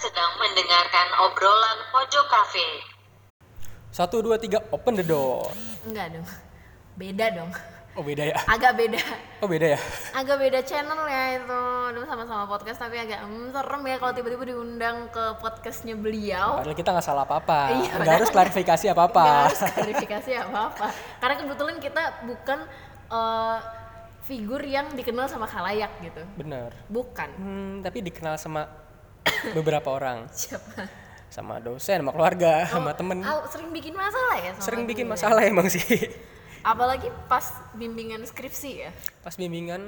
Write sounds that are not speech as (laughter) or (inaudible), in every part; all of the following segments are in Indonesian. sedang mendengarkan obrolan pojok kafe. Satu, dua, tiga, open the door. Enggak dong. Beda dong. Oh beda ya? Agak beda. Oh beda ya? Agak beda channel ya itu. Aduh, sama-sama podcast tapi agak mm, serem ya kalau tiba-tiba diundang ke podcastnya beliau. Padahal kita nggak salah apa-apa. Oh. Iya, nggak padahal harus klarifikasi apa-apa. Nggak harus klarifikasi apa-apa. Karena kebetulan kita bukan eh, figur yang dikenal sama khalayak gitu. Bener. Bukan. Hmm, tapi dikenal sama (coughs) beberapa orang. Siapa? Sama dosen, sama keluarga, sama Oh, temen. ah, sering bikin masalah ya sama Sering bikin guru ya? masalah emang sih. Apalagi pas bimbingan skripsi ya. Pas bimbingan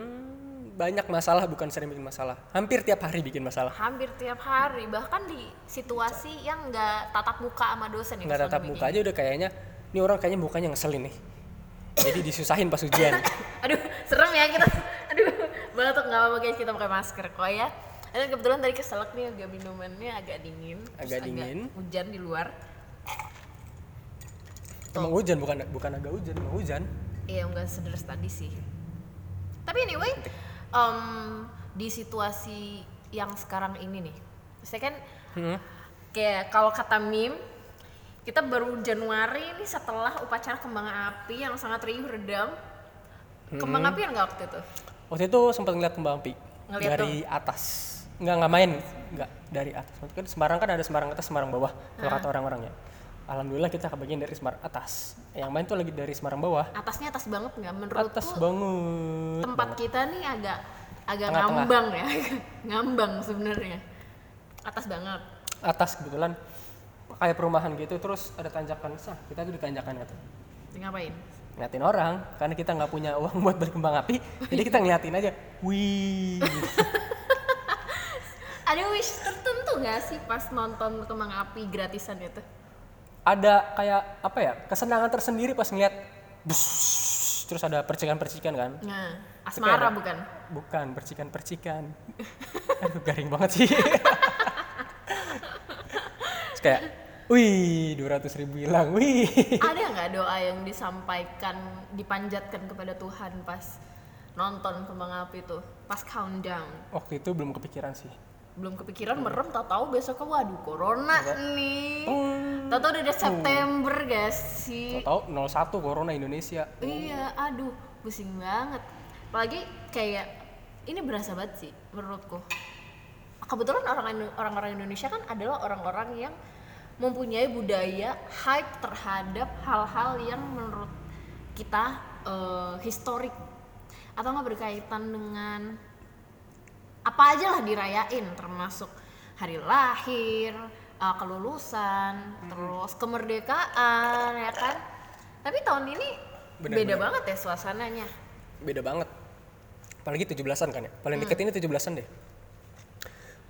banyak masalah bukan sering bikin masalah. Hampir tiap hari bikin masalah. Hampir tiap hari bahkan di situasi yang nggak tatap muka sama dosen ya. Nggak misalnya tatap bikin. muka aja udah kayaknya, ini orang kayaknya mukanya ngeselin nih. Jadi disusahin pas (coughs) ujian. aduh serem ya kita aduh batuk nggak apa-apa guys kita pakai masker kok ya dan kebetulan tadi keselak nih agak minumannya agak dingin Agak dingin. hujan di luar Emang hujan bukan bukan agak hujan, emang hujan. iya nggak sederas tadi sih tapi anyway em, di situasi yang sekarang ini nih saya kan Hmm. kayak kalau kata mim kita baru Januari ini setelah upacara kembang api yang sangat riuh redam kembang api yang nggak waktu itu Waktu itu sempat ngeliat kembang api Ngeliat dari atas. Nggak nggak main, nggak dari atas. Maksudnya kan Semarang kan ada Semarang atas, Semarang bawah. Kalau kata orang-orangnya. Alhamdulillah kita kebagian dari Semarang atas. Yang main tuh lagi dari Semarang bawah. atasnya atas banget nggak menurutku Atas banget. tempat kita nih agak agak Tengah-tengah. ngambang ya (laughs) ngambang sebenarnya atas banget Atas kebetulan kayak perumahan gitu terus ada tanjakan sah kita tuh di tanjakan gitu ngapain ngeliatin orang karena kita nggak punya uang (laughs) buat beli kembang api jadi kita ngeliatin aja wih ada wish tertentu nggak sih pas nonton kembang api gratisan itu ada kayak apa ya kesenangan tersendiri pas ngeliat bus, terus ada percikan-percikan kan nah Itu kayak asmara ada- (laughs) bukan Bukan, percikan-percikan. (laughs) Aduh, garing banget sih. Terus kayak, wih, 200 ribu hilang, wih. ada nggak doa yang disampaikan dipanjatkan kepada Tuhan pas nonton kembang api itu pas countdown Waktu itu belum kepikiran sih. belum kepikiran merem tahu-tahu besoknya waduh corona nih Oh. tahu-tahu udah ada September guys sih Tahu 01 Corona Indonesia. Iya, aduh, pusing banget. Apalagi kayak ini berasa banget sih menurutku. Kebetulan orang Indo- orang-orang Indonesia kan adalah orang-orang yang mempunyai budaya hype terhadap hal-hal yang menurut kita eh, historik atau nggak berkaitan dengan apa aja lah dirayain termasuk hari lahir uh, kelulusan terus kemerdekaan ya kan tapi tahun ini Benar, beda benar. banget ya suasananya Beda banget. Apalagi 17-an kan ya. Paling deket ini 17-an deh.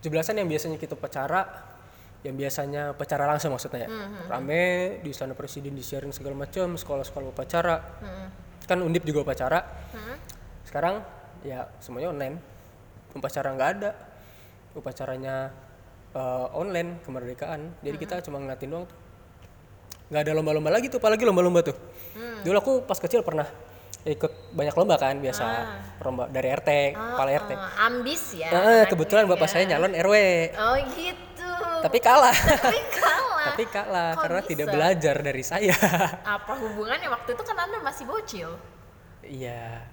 17-an yang biasanya kita upacara yang biasanya upacara langsung maksudnya ya. Rame di istana presiden disiarin segala macam, sekolah-sekolah upacara. Kan Undip juga upacara. sekarang ya semuanya online upacara nggak ada upacaranya eh, online kemerdekaan jadi kita cuma ngeliatin doang tuh nggak ada lomba-lomba lagi tuh apalagi lomba-lomba tuh dulu aku pas kecil pernah ikut banyak lomba kan biasa lomba dari RT kepala RT Eh, ambis ya Eh, kebetulan bapak saya nyalon RW oh gitu tapi kalah (laughs) tapi kalah tapi kalah Kok karena bisa? tidak belajar dari saya (laughs) apa hubungannya waktu itu kan anda masih bocil iya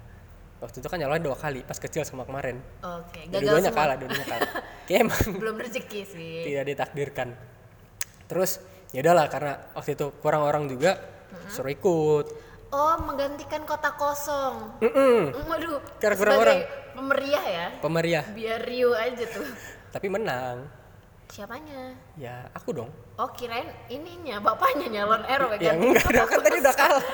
waktu itu kan nyalon dua kali pas kecil sama kemarin oke gagal dua-duanya semua kalah Iya. dua-duanya kalah (laughs) kayak emang belum rezeki sih tidak ditakdirkan terus ya udahlah karena waktu itu kurang orang juga suruh ikut oh menggantikan kota kosong Mm-mm, waduh Karena kurang sebagai Mm. orang. pemeriah ya pemeriah biar Rio aja tuh tapi menang siapanya ya aku dong oh kirain ininya bapaknya nyalon RW ya ganti. Oh. enggak dong kan tadi (laughs) udah kalah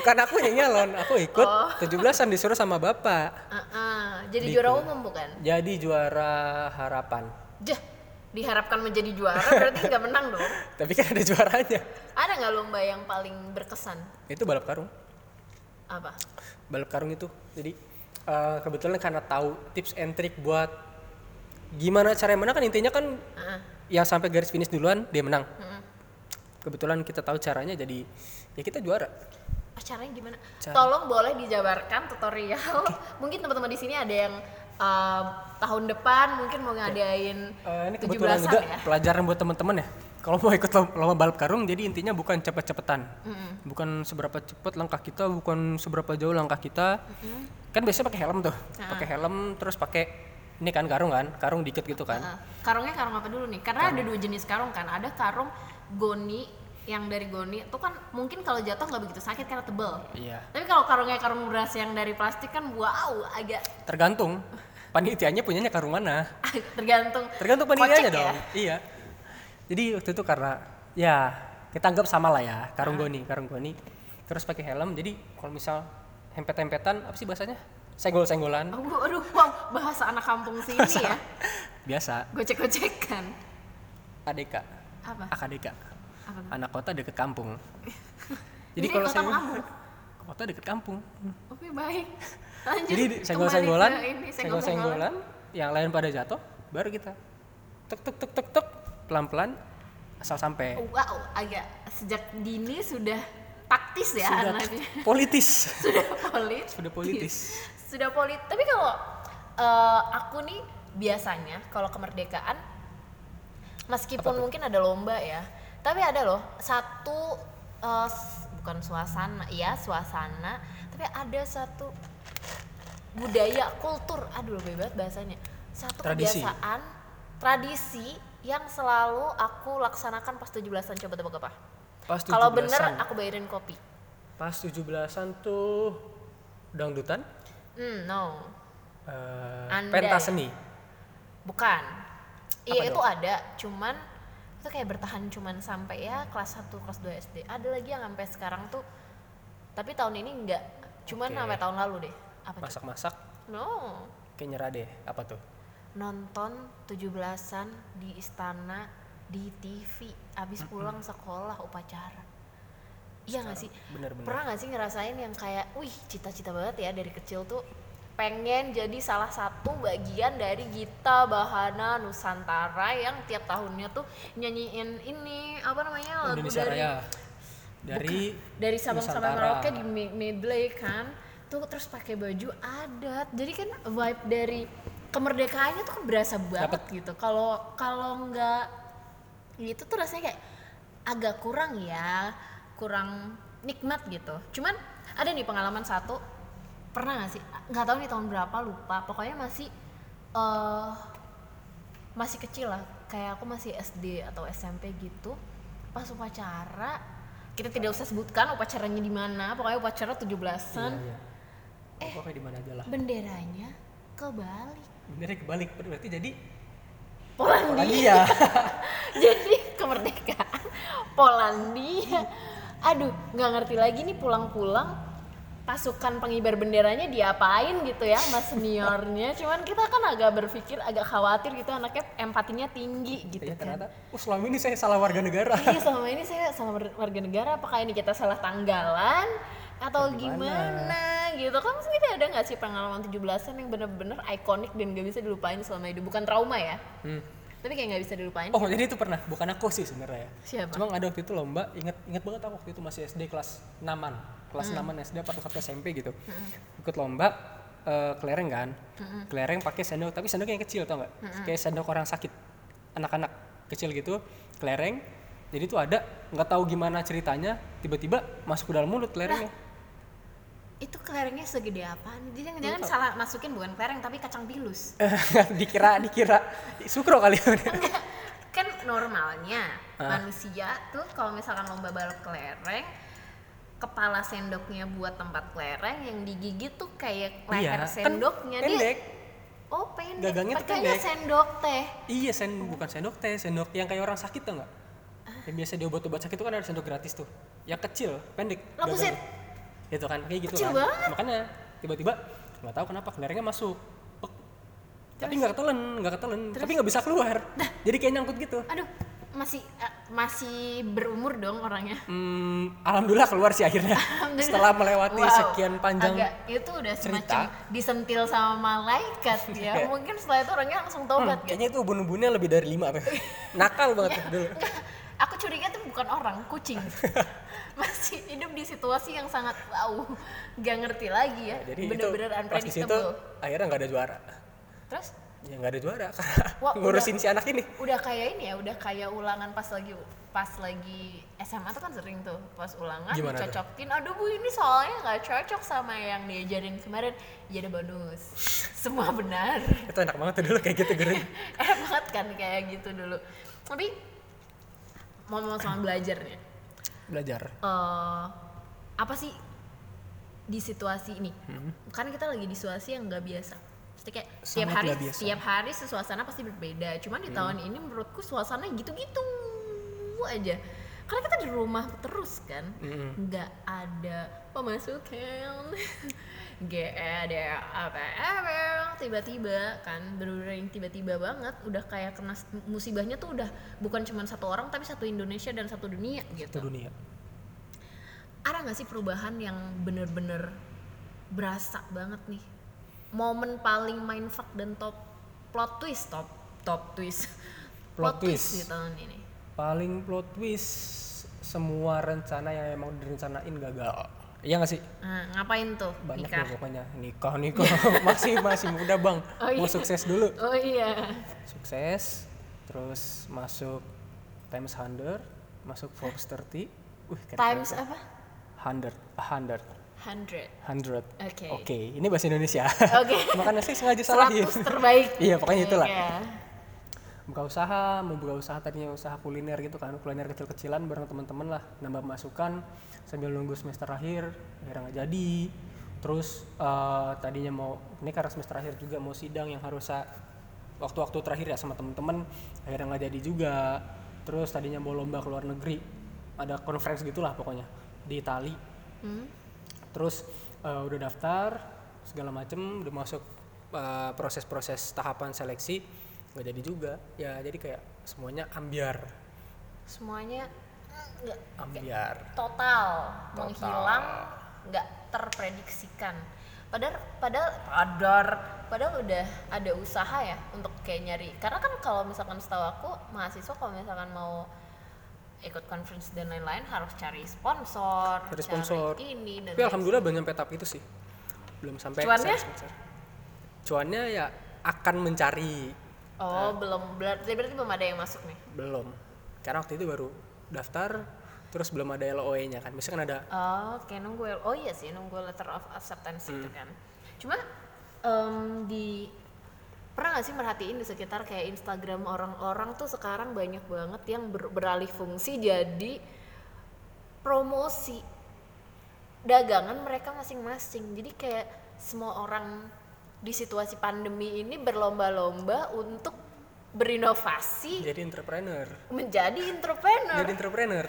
bukan aku yang nyalon aku ikut Oh. 17-an disuruh sama bapak Heeh, jadi Gitu. juara umum bukan jadi juara harapan Jah, diharapkan menjadi juara berarti nggak menang dong tapi kan ada juaranya ada nggak lomba yang paling berkesan itu balap karung apa balap karung itu jadi eh, kebetulan karena tahu tips and trick buat gimana cara yang menang kan intinya kan Heeh. yang sampai garis finish duluan dia menang heeh. kebetulan kita tahu caranya jadi ya kita juara Ah, caranya gimana Cara- tolong boleh dijabarkan tutorial mungkin teman-teman di sini ada yang eh, tahun depan mungkin mau ngadain Eh, ini 17-an kebetulan juga ya. pelajaran buat teman-teman ya. Kalau mau ikut lom- lomba balap karung, jadi intinya bukan cepet-cepetan, bukan seberapa cepet langkah kita, bukan seberapa jauh langkah kita. Kan biasanya pakai helm tuh, Ah. pakai helm terus pakai ini kan karung kan, karung dikit gitu kan. Nah, karungnya karung apa dulu nih? Karena ada dua jenis karung kan. Ada karung goni yang dari goni itu kan mungkin kalau jatuh nggak begitu sakit karena tebel. Iya. Tapi kalau karungnya karung beras yang dari plastik kan wow agak (laughs) Tergantung panitianya punyanya karung mana. tergantung. Tergantung kocek panitianya ya. dong. Iya. Jadi waktu itu karena ya kita anggap sama lah ya, karung Ah. goni, karung goni. Terus pakai helm. Jadi kalau misal hempet-hempetan apa sih bahasanya? Senggol-senggolan. Aku- aduh, wow, bahasa anak kampung sini ya. Biasa. Gocek-gocekan. ADK, Apa? AKDK. Apa tuh? Anak kota deket (laughs) kampung. Jadi kalau kota saya kamu? kota deket kampung. Oke, (laughs) baik. Lanjut. Jadi kembali senggol-senggolan, ke ini, senggol-senggolan. senggol-senggolan, yang lain pada jatuh, baru kita tek tek tek tek tek pelan-pelan asal sampai. Wow, agak sejak dini sudah taktis ya Sudah anaknya. politis. (laughs) Sudah polit. Sudah politis. sudah polit tapi kalau eh, aku nih biasanya kalau kemerdekaan meskipun mungkin ada lomba ya tapi ada loh satu eh, s- bukan suasana ya suasana tapi ada satu budaya kultur aduh lebih banget bahasanya satu Tradisi. kebiasaan tradisi yang selalu aku laksanakan pas 17-an coba tebak apa Pas kalau bener 17-an. aku bayarin kopi Pas 17-an tuh dangdutan, hmm no eh, Anda pentas ya? seni. Bukan. Apa Iya dong? itu ada, cuman itu kayak bertahan cuman sampai ya kelas 1, kelas 2 SD. Ada lagi yang sampai sekarang tuh tapi tahun ini enggak. Cuman Oke. sampai tahun lalu deh. Apa tuh? Masak-masak, No. kayak nyerah deh. Apa tuh? Nonton 17-an di istana di TV abis pulang sekolah upacara. Iya gak sih? Bener-bener. Pernah gak sih ngerasain yang kayak, wih cita-cita banget ya dari kecil tuh pengen jadi salah satu bagian dari Gita Bahana Nusantara yang tiap tahunnya tuh nyanyiin ini apa namanya lagu Indonesia dari Raya. Dari dari Sabang sampai Nusantara. Merauke di Me- Medley kan tuh terus pakai baju adat jadi kan vibe dari kemerdekaannya tuh kan berasa banget Dapet. gitu kalau kalau nggak itu Gitu tuh rasanya kayak agak kurang ya kurang nikmat gitu cuman ada nih pengalaman satu pernah nggak sih nggak tahu nih tahun berapa lupa pokoknya masih eh masih kecil lah kayak aku masih SD atau SMP gitu pas upacara kita tidak usah sebutkan upacaranya di mana pokoknya upacara 17-an Iya, iya. Eh. Pokoknya di mana aja lah. benderanya kebalik Benernya kebalik berarti jadi Polandia Polandia. (laughs) jadi kemerdekaan Polandia aduh nggak ngerti lagi nih pulang-pulang pasukan pengibar benderanya diapain gitu ya mas seniornya cuman kita kan agak berpikir agak khawatir gitu anaknya empatinya tinggi (laughs) gitu Iya kan ternyata, oh selama ini saya salah warga negara. Iya selama ini saya sama warga negara apakah ini kita salah tanggalan atau gimana? gitu kamu sendiri ada nggak sih pengalaman 17-an yang bener-bener ikonik dan gak bisa dilupain selama hidup bukan trauma ya Hmm. tapi kayak nggak bisa dilupain Oh jadi itu pernah, bukan aku sih sebenarnya ya. Siapa? Cuma ada waktu itu lomba, inget inget banget aku waktu itu masih SD kelas 6-an, kelas Hmm. 6-an SD apa kelas satu SMP gitu. Ikut lomba eh, kelereng kan, Hmm. kelereng pakai sendok, tapi sendoknya yang kecil tau nggak? Kayak sendok orang sakit, anak-anak kecil gitu, kelereng. Jadi tuh ada nggak tahu gimana ceritanya, tiba-tiba masuk ke dalam mulut kelerengnya. itu kelerengnya segede apaan? Jadi jangan-jangan salah masukin bukan kelereng tapi kacang pilus (laughs) (laughs) dikira dikira sukro kali (laughs) ya. kan normalnya Ah. manusia tuh kalau misalkan lomba balap kelereng kepala sendoknya buat tempat kelereng yang digigit tuh kayak kan leher sendoknya dia pendek. Oh pendek, Gagangnya tuh pakainya pendek. sendok teh. Iya, sen bukan sendok teh, sendok yang kayak orang sakit tau nggak? Ah. Yang biasa diobat-obat sakit itu kan ada sendok gratis tuh. Yang kecil, pendek. Lapisin. gagangnya. Gitu kan, kayak gitu kan. Kecil banget. Makanya tiba-tiba nggak tahu kenapa kelerengnya masuk. Pek. Tapi nggak ketelan, nggak ketelan. Tapi nggak bisa keluar. Jadi kayak nyangkut gitu. Aduh, masih eh, masih berumur dong orangnya. Hmm, alhamdulillah keluar sih akhirnya. Alhamdulillah. Setelah melewati Wow, sekian panjang Hmm, agak itu udah cerita. semacam disentil sama malaikat (laughs) ya. Mungkin setelah itu orangnya langsung tobat gitu. Kayaknya itu ubun-ubunnya lebih dari lima (laughs) tuh. Nakal Iya. banget tuh dulu. Aku curiga tuh bukan orang, (laughs) kucing. Masih hidup di situasi yang sangat wow, gak ngerti lagi ya. Jadi Bener-bener itu pas di situ unpredictable. akhirnya nggak ada juara. terus ya nggak ada juara (laughs) karena Wah, ngurusin udah. si anak ini udah kayak ini ya udah kayak ulangan pas lagi pas lagi SMA tuh kan sering tuh pas ulangan Gimana tuh? dicocokin aduh bu ini soalnya nggak cocok sama yang diajarin kemarin ya ada (laughs) bonus semua benar (laughs) itu enak banget tuh dulu kayak gitu guru enak banget kan kayak gitu dulu tapi ngomong soal belajar nih (laughs) belajar eh, apa sih di situasi ini karena kita lagi di situasi yang nggak biasa Pasti kayak Hmm. tiap Sangat hari nggak biasa. Hmm. tiap hari suasana pasti berbeda cuman di tahun ini menurutku suasana gitu-gitu aja karena kita di rumah terus kan Mm-mm. nggak ada pemasukan (laughs) GE ada apa apa tiba-tiba kan bener-bener yang tiba-tiba banget udah kayak kena musibahnya tuh udah bukan cuma satu orang tapi satu Indonesia dan satu dunia itu gitu dunia ada nggak sih perubahan yang bener-bener berasa banget nih momen paling mindfuck dan top plot twist top top twist (laughs) Plot twist. di tahun ini paling plot twist semua rencana yang emang direncanain gagal iya nggak sih Nah, ngapain tuh banyak nikah deh pokoknya nikah nikah (laughs) masih masih muda bang Oh, iya. mau sukses dulu oh iya sukses terus masuk Times 100 masuk Forbes 30 Wih, keren times banget. apa 100 100 hundred 100 Oke. oke ini bahasa Indonesia (laughs) Oke. makanya saya sengaja salahin (laughs) seratus terbaik iya pokoknya itulah Iya. buka usaha mau buka usaha tadinya usaha kuliner gitu kan kuliner kecil-kecilan bareng teman-teman lah nambah masukan sambil nunggu semester akhir akhirnya nggak jadi terus eh, tadinya mau ini karena semester akhir juga mau sidang yang harus sa- waktu-waktu terakhir ya sama teman-teman akhirnya nggak jadi juga terus tadinya mau lomba ke luar negeri ada conference gitulah pokoknya di Itali Hmm. terus eh, udah daftar segala macem udah masuk eh, proses-proses tahapan seleksi nggak jadi juga ya jadi kayak semuanya ambiar semuanya nggak ambiar total, menghilang nggak terprediksikan padahal padahal padahal padahal udah ada usaha ya untuk kayak nyari karena kan kalau misalkan setahu aku mahasiswa kalau misalkan mau ikut conference dan lain-lain harus cari sponsor, dari sponsor cari ini dan tapi lain alhamdulillah belum sampai tahap itu sih belum sampai Cuannya? kesana sponsor. cuannya ya akan mencari oh belum berarti berarti belum ada yang masuk nih belum karena waktu itu baru daftar terus belum ada LOE nya kan biasanya kan ada Oh, oke nunggu L- oh iya sih nunggu letter of acceptance itu kan. Cuma em, di pernah nggak sih merhatiin di sekitar kayak Instagram orang-orang tuh sekarang banyak banget yang ber- beralih fungsi jadi promosi dagangan mereka masing-masing. Jadi kayak semua orang di situasi pandemi ini berlomba-lomba untuk berinovasi jadi entrepreneur menjadi entrepreneur jadi entrepreneur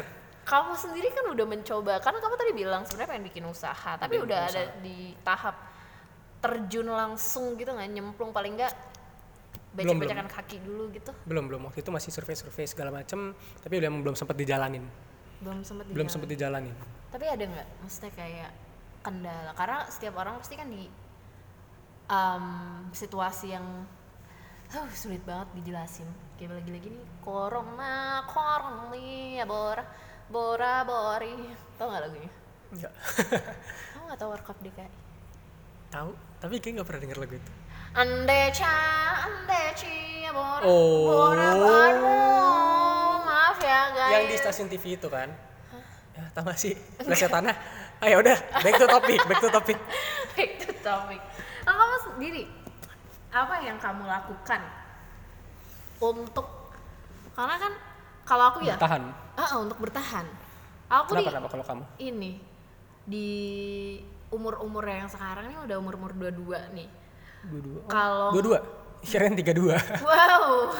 kamu sendiri kan udah mencoba karena kamu tadi bilang sebenarnya pengen bikin usaha tapi Pengen udah bikin ada di tahap terjun langsung gitu nggak nyemplung paling nggak Belum, becek-becekan kaki dulu gitu belum belum waktu itu masih survei-survei segala macem tapi udah belum sempat dijalanin belum sempet belum dijalan. sempat dijalanin tapi ada nggak maksudnya kayak kendala karena setiap orang pasti kan di um, situasi yang huh, sulit banget dijelasin kayak lagi-lagi nih corona corona bora bora bori tau nggak lagunya enggak (laughs) kamu nggak tahu World Cup DKI tahu tapi kayak nggak pernah denger lagu itu Andeca, Andeci, Bora, Oh. Bora, Baru. Maaf ya guys. yang di stasiun TV itu kan ya tahu gak sih Rasa tanah ayo udah back to topic back to topic (laughs) Back to topic. Nah, kamu sendiri, apa yang kamu lakukan untuk karena kan kalau aku ya, tahan Ah, ah, untuk bertahan. Aku kenapa di- kenapa kalau kamu ini di umur-umur yang sekarang ini udah umur-umur 22 nih. dua dua Kalau dua dua kirain tiga (laughs) dua Wow,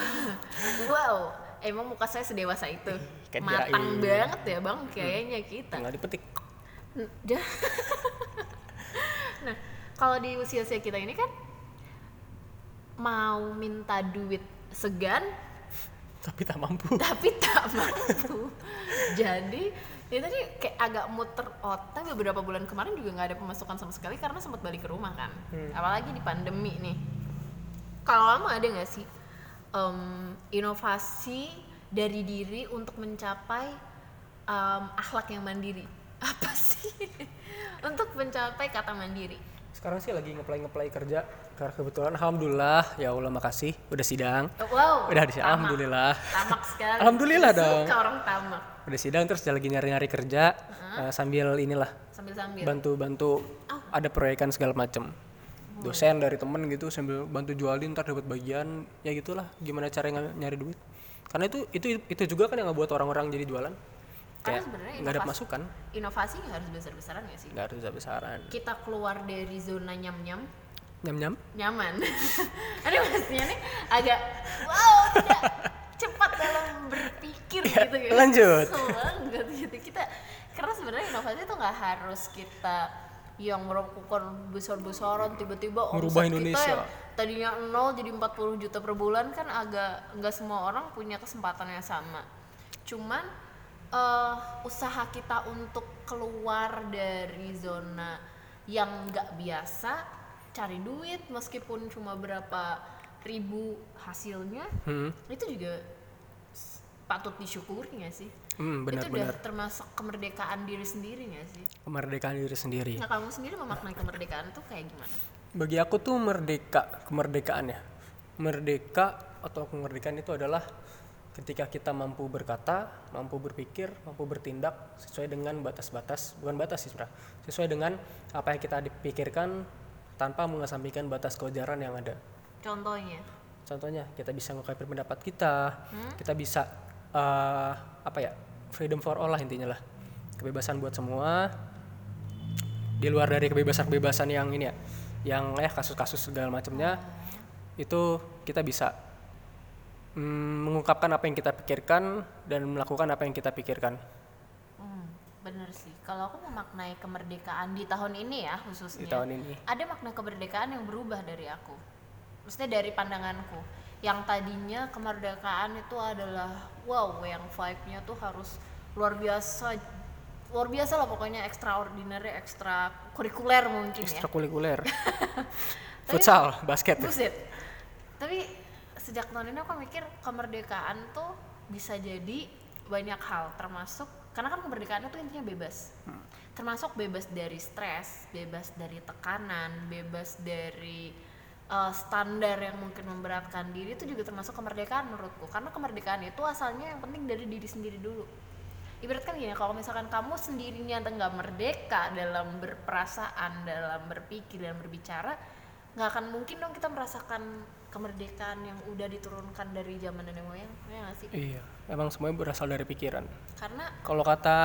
wow, emang muka saya sedewasa itu, Kan matang kirain. banget ya bang, kayaknya kita. tinggal dipetik N- dah. nah, kalau di usia-usia kita ini kan mau minta duit segan, tapi tak mampu (laughs) tapi tak mampu. Jadi ya tadi kayak agak muter otak beberapa bulan kemarin juga nggak ada pemasukan sama sekali karena sempat balik ke rumah kan. Hmm. Apalagi di pandemi nih. Kalau lama ada nggak sih em, inovasi dari diri untuk mencapai (laughs) em, akhlak yang mandiri? Apa sih? untuk mencapai kata mandiri. sekarang sih lagi ngeplay ngeplay kerja karena kebetulan alhamdulillah ya Allah makasih udah sidang Wow. udah di tamak. alhamdulillah Tamak sekali. Alhamdulillah dong. Suka orang tamak. udah sidang terus lagi nyari nyari kerja eh, sambil inilah Sambil-sambil. bantu bantu Oh. ada proyekan segala macem dosen dari temen gitu sambil bantu jualin ntar dapat bagian ya gitulah gimana cara ng- nyari duit karena itu itu itu juga kan yang ngebuat orang-orang jadi jualan Karena kayak sebenarnya nggak ada inovasi- masukan Inovasi nggak harus besar-besaran ya sih? nggak harus besaran Kita keluar dari zona nyam-nyam, nyam nyam nyaman. (laughs) Ada maksudnya nih agak wow tidak cepat dalam berpikir gitu ya. lanjut. Kesel banget gitu kita karena sebenarnya inovasi itu nggak harus kita yang melakukan besar-besaran tiba-tiba Merubah omset Indonesia. kita yang tadinya nol jadi 40 juta per bulan kan agak nggak semua orang punya kesempatan yang sama cuman eh, usaha kita untuk keluar dari zona yang nggak biasa cari duit meskipun cuma berapa ribu hasilnya hmm, itu juga s- patut disyukuri nggak sih hmm itu udah benar-benar termasuk kemerdekaan diri sendiri nggak sih kemerdekaan diri sendiri nah kamu sendiri memaknai kemerdekaan tuh kayak gimana bagi aku tuh merdeka kemerdekaannya merdeka atau kemerdekaan itu adalah ketika kita mampu berkata mampu berpikir mampu bertindak sesuai dengan batas-batas bukan batas sih sebenarnya sesuai dengan apa yang kita dipikirkan tanpa mengesampingkan batas kewajaran yang ada contohnya contohnya kita bisa mengungkapkan pendapat kita kita bisa eh, apa ya freedom for all lah intinya lah kebebasan buat semua di luar dari kebebasan-kebebasan yang ini ya yang ya kasus-kasus segala macamnya itu kita bisa mm, mengungkapkan apa yang kita pikirkan dan melakukan apa yang kita pikirkan Hmm, bener sih. Kalau aku memaknai kemerdekaan di tahun ini ya khususnya. di tahun ini Ada makna kemerdekaan yang berubah dari aku. Maksudnya dari pandanganku. Yang tadinya kemerdekaan itu adalah wow, yang vibe-nya tuh harus luar biasa luar biasa lah pokoknya extraordinary, ekstra kurikuler mungkin ya. ekstrakurikuler futsal basket Buset. Tapi sejak tahun ini aku mikir kemerdekaan tuh bisa jadi banyak hal termasuk karena kan kemerdekaan itu intinya bebas. Termasuk bebas dari stres, bebas dari tekanan, bebas dari uh, standar yang mungkin memberatkan diri itu juga termasuk kemerdekaan menurutku. Karena kemerdekaan itu asalnya yang penting dari diri sendiri dulu. Ibaratkan gini, kalau misalkan kamu sendirinya nggak merdeka dalam berperasaan, dalam berpikir, dalam berbicara, nggak akan mungkin dong kita merasakan kemerdekaan yang udah diturunkan dari zaman nenek moyang ya nggak sih iya emang semuanya berasal dari pikiran karena kalau kata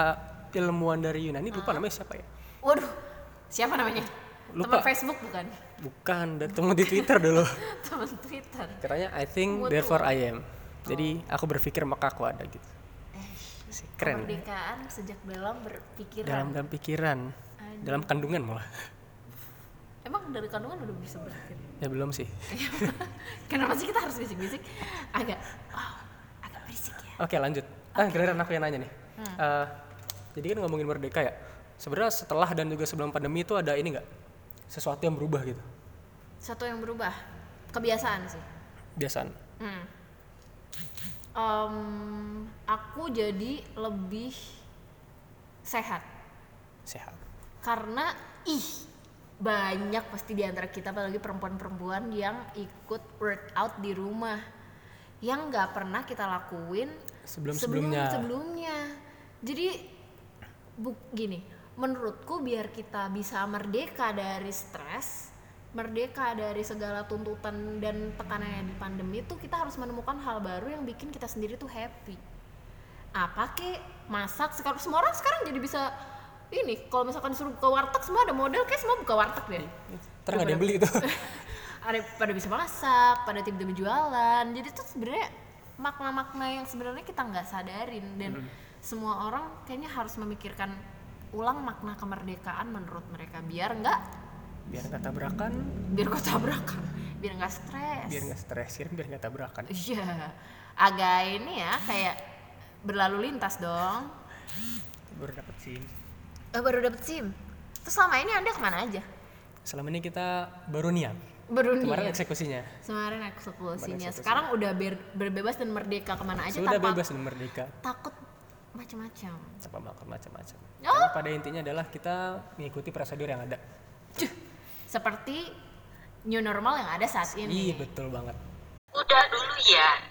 ilmuwan dari Yunani lupa namanya siapa ya waduh siapa namanya Lupa. teman Facebook bukan (laughs) bukan ketemu di Twitter dulu teman Twitter katanya I think Waduh. therefore I am jadi aku berpikir maka aku ada gitu eh Sih, keren ya. kemerdekaan sejak dalam berpikiran dalam dalam pikiran dalam kandungan malah (laughs) emang dari kandungan udah bisa berpikir ya belum (laughs) sih kenapa sih kita harus bisik-bisik agak wow agak berisik ya oke lanjut ah giliran aku yang nanya nih Hmm. Eh, jadi kan ngomongin merdeka ya sebenarnya setelah dan juga sebelum pandemi itu ada ini nggak sesuatu yang berubah gitu satu yang berubah kebiasaan sih biasaan Hmm. Em, aku jadi lebih sehat sehat karena ih banyak pasti di antara kita apalagi perempuan-perempuan yang ikut workout di rumah yang nggak pernah kita lakuin Sebelum- sebelumnya. sebelumnya jadi bu gini menurutku biar kita bisa merdeka dari stres merdeka dari segala tuntutan dan tekanannya di pandemi tuh kita harus menemukan hal baru yang bikin kita sendiri tuh happy apa kek masak sekarang semua orang sekarang jadi bisa ini kalau misalkan suruh buka warteg semua ada model kayak semua buka warteg deh ntar nggak ada yang beli gitu. itu (laughs) ada pada bisa masak pada tiba-tiba jualan jadi tuh sebenarnya makna-makna yang sebenarnya kita nggak sadarin dan semua orang kayaknya harus memikirkan ulang makna kemerdekaan menurut mereka biar nggak biar nggak tabrakan biar gak tabrakan (laughs) biar nggak stres biar nggak stres biar nggak tabrakan iya agak ini ya kayak berlalu lintas dong baru dapet sih Eh, baru dapet SIM. Terus selama ini Anda kemana aja? selama ini kita baru niat Baru kemarin nih. ya? eksekusinya Kemarin eksekusinya. eksekusinya. Sekarang udah ber- berbebas dan merdeka kemana aja sudah tanpa bebas dan merdeka takut macam-macam. tanpa melakukan macam-macam. Oh. Karena pada intinya adalah kita mengikuti prosedur yang ada. seperti new normal yang ada saat ini Iya, Ih, betul banget. Udah dulu ya.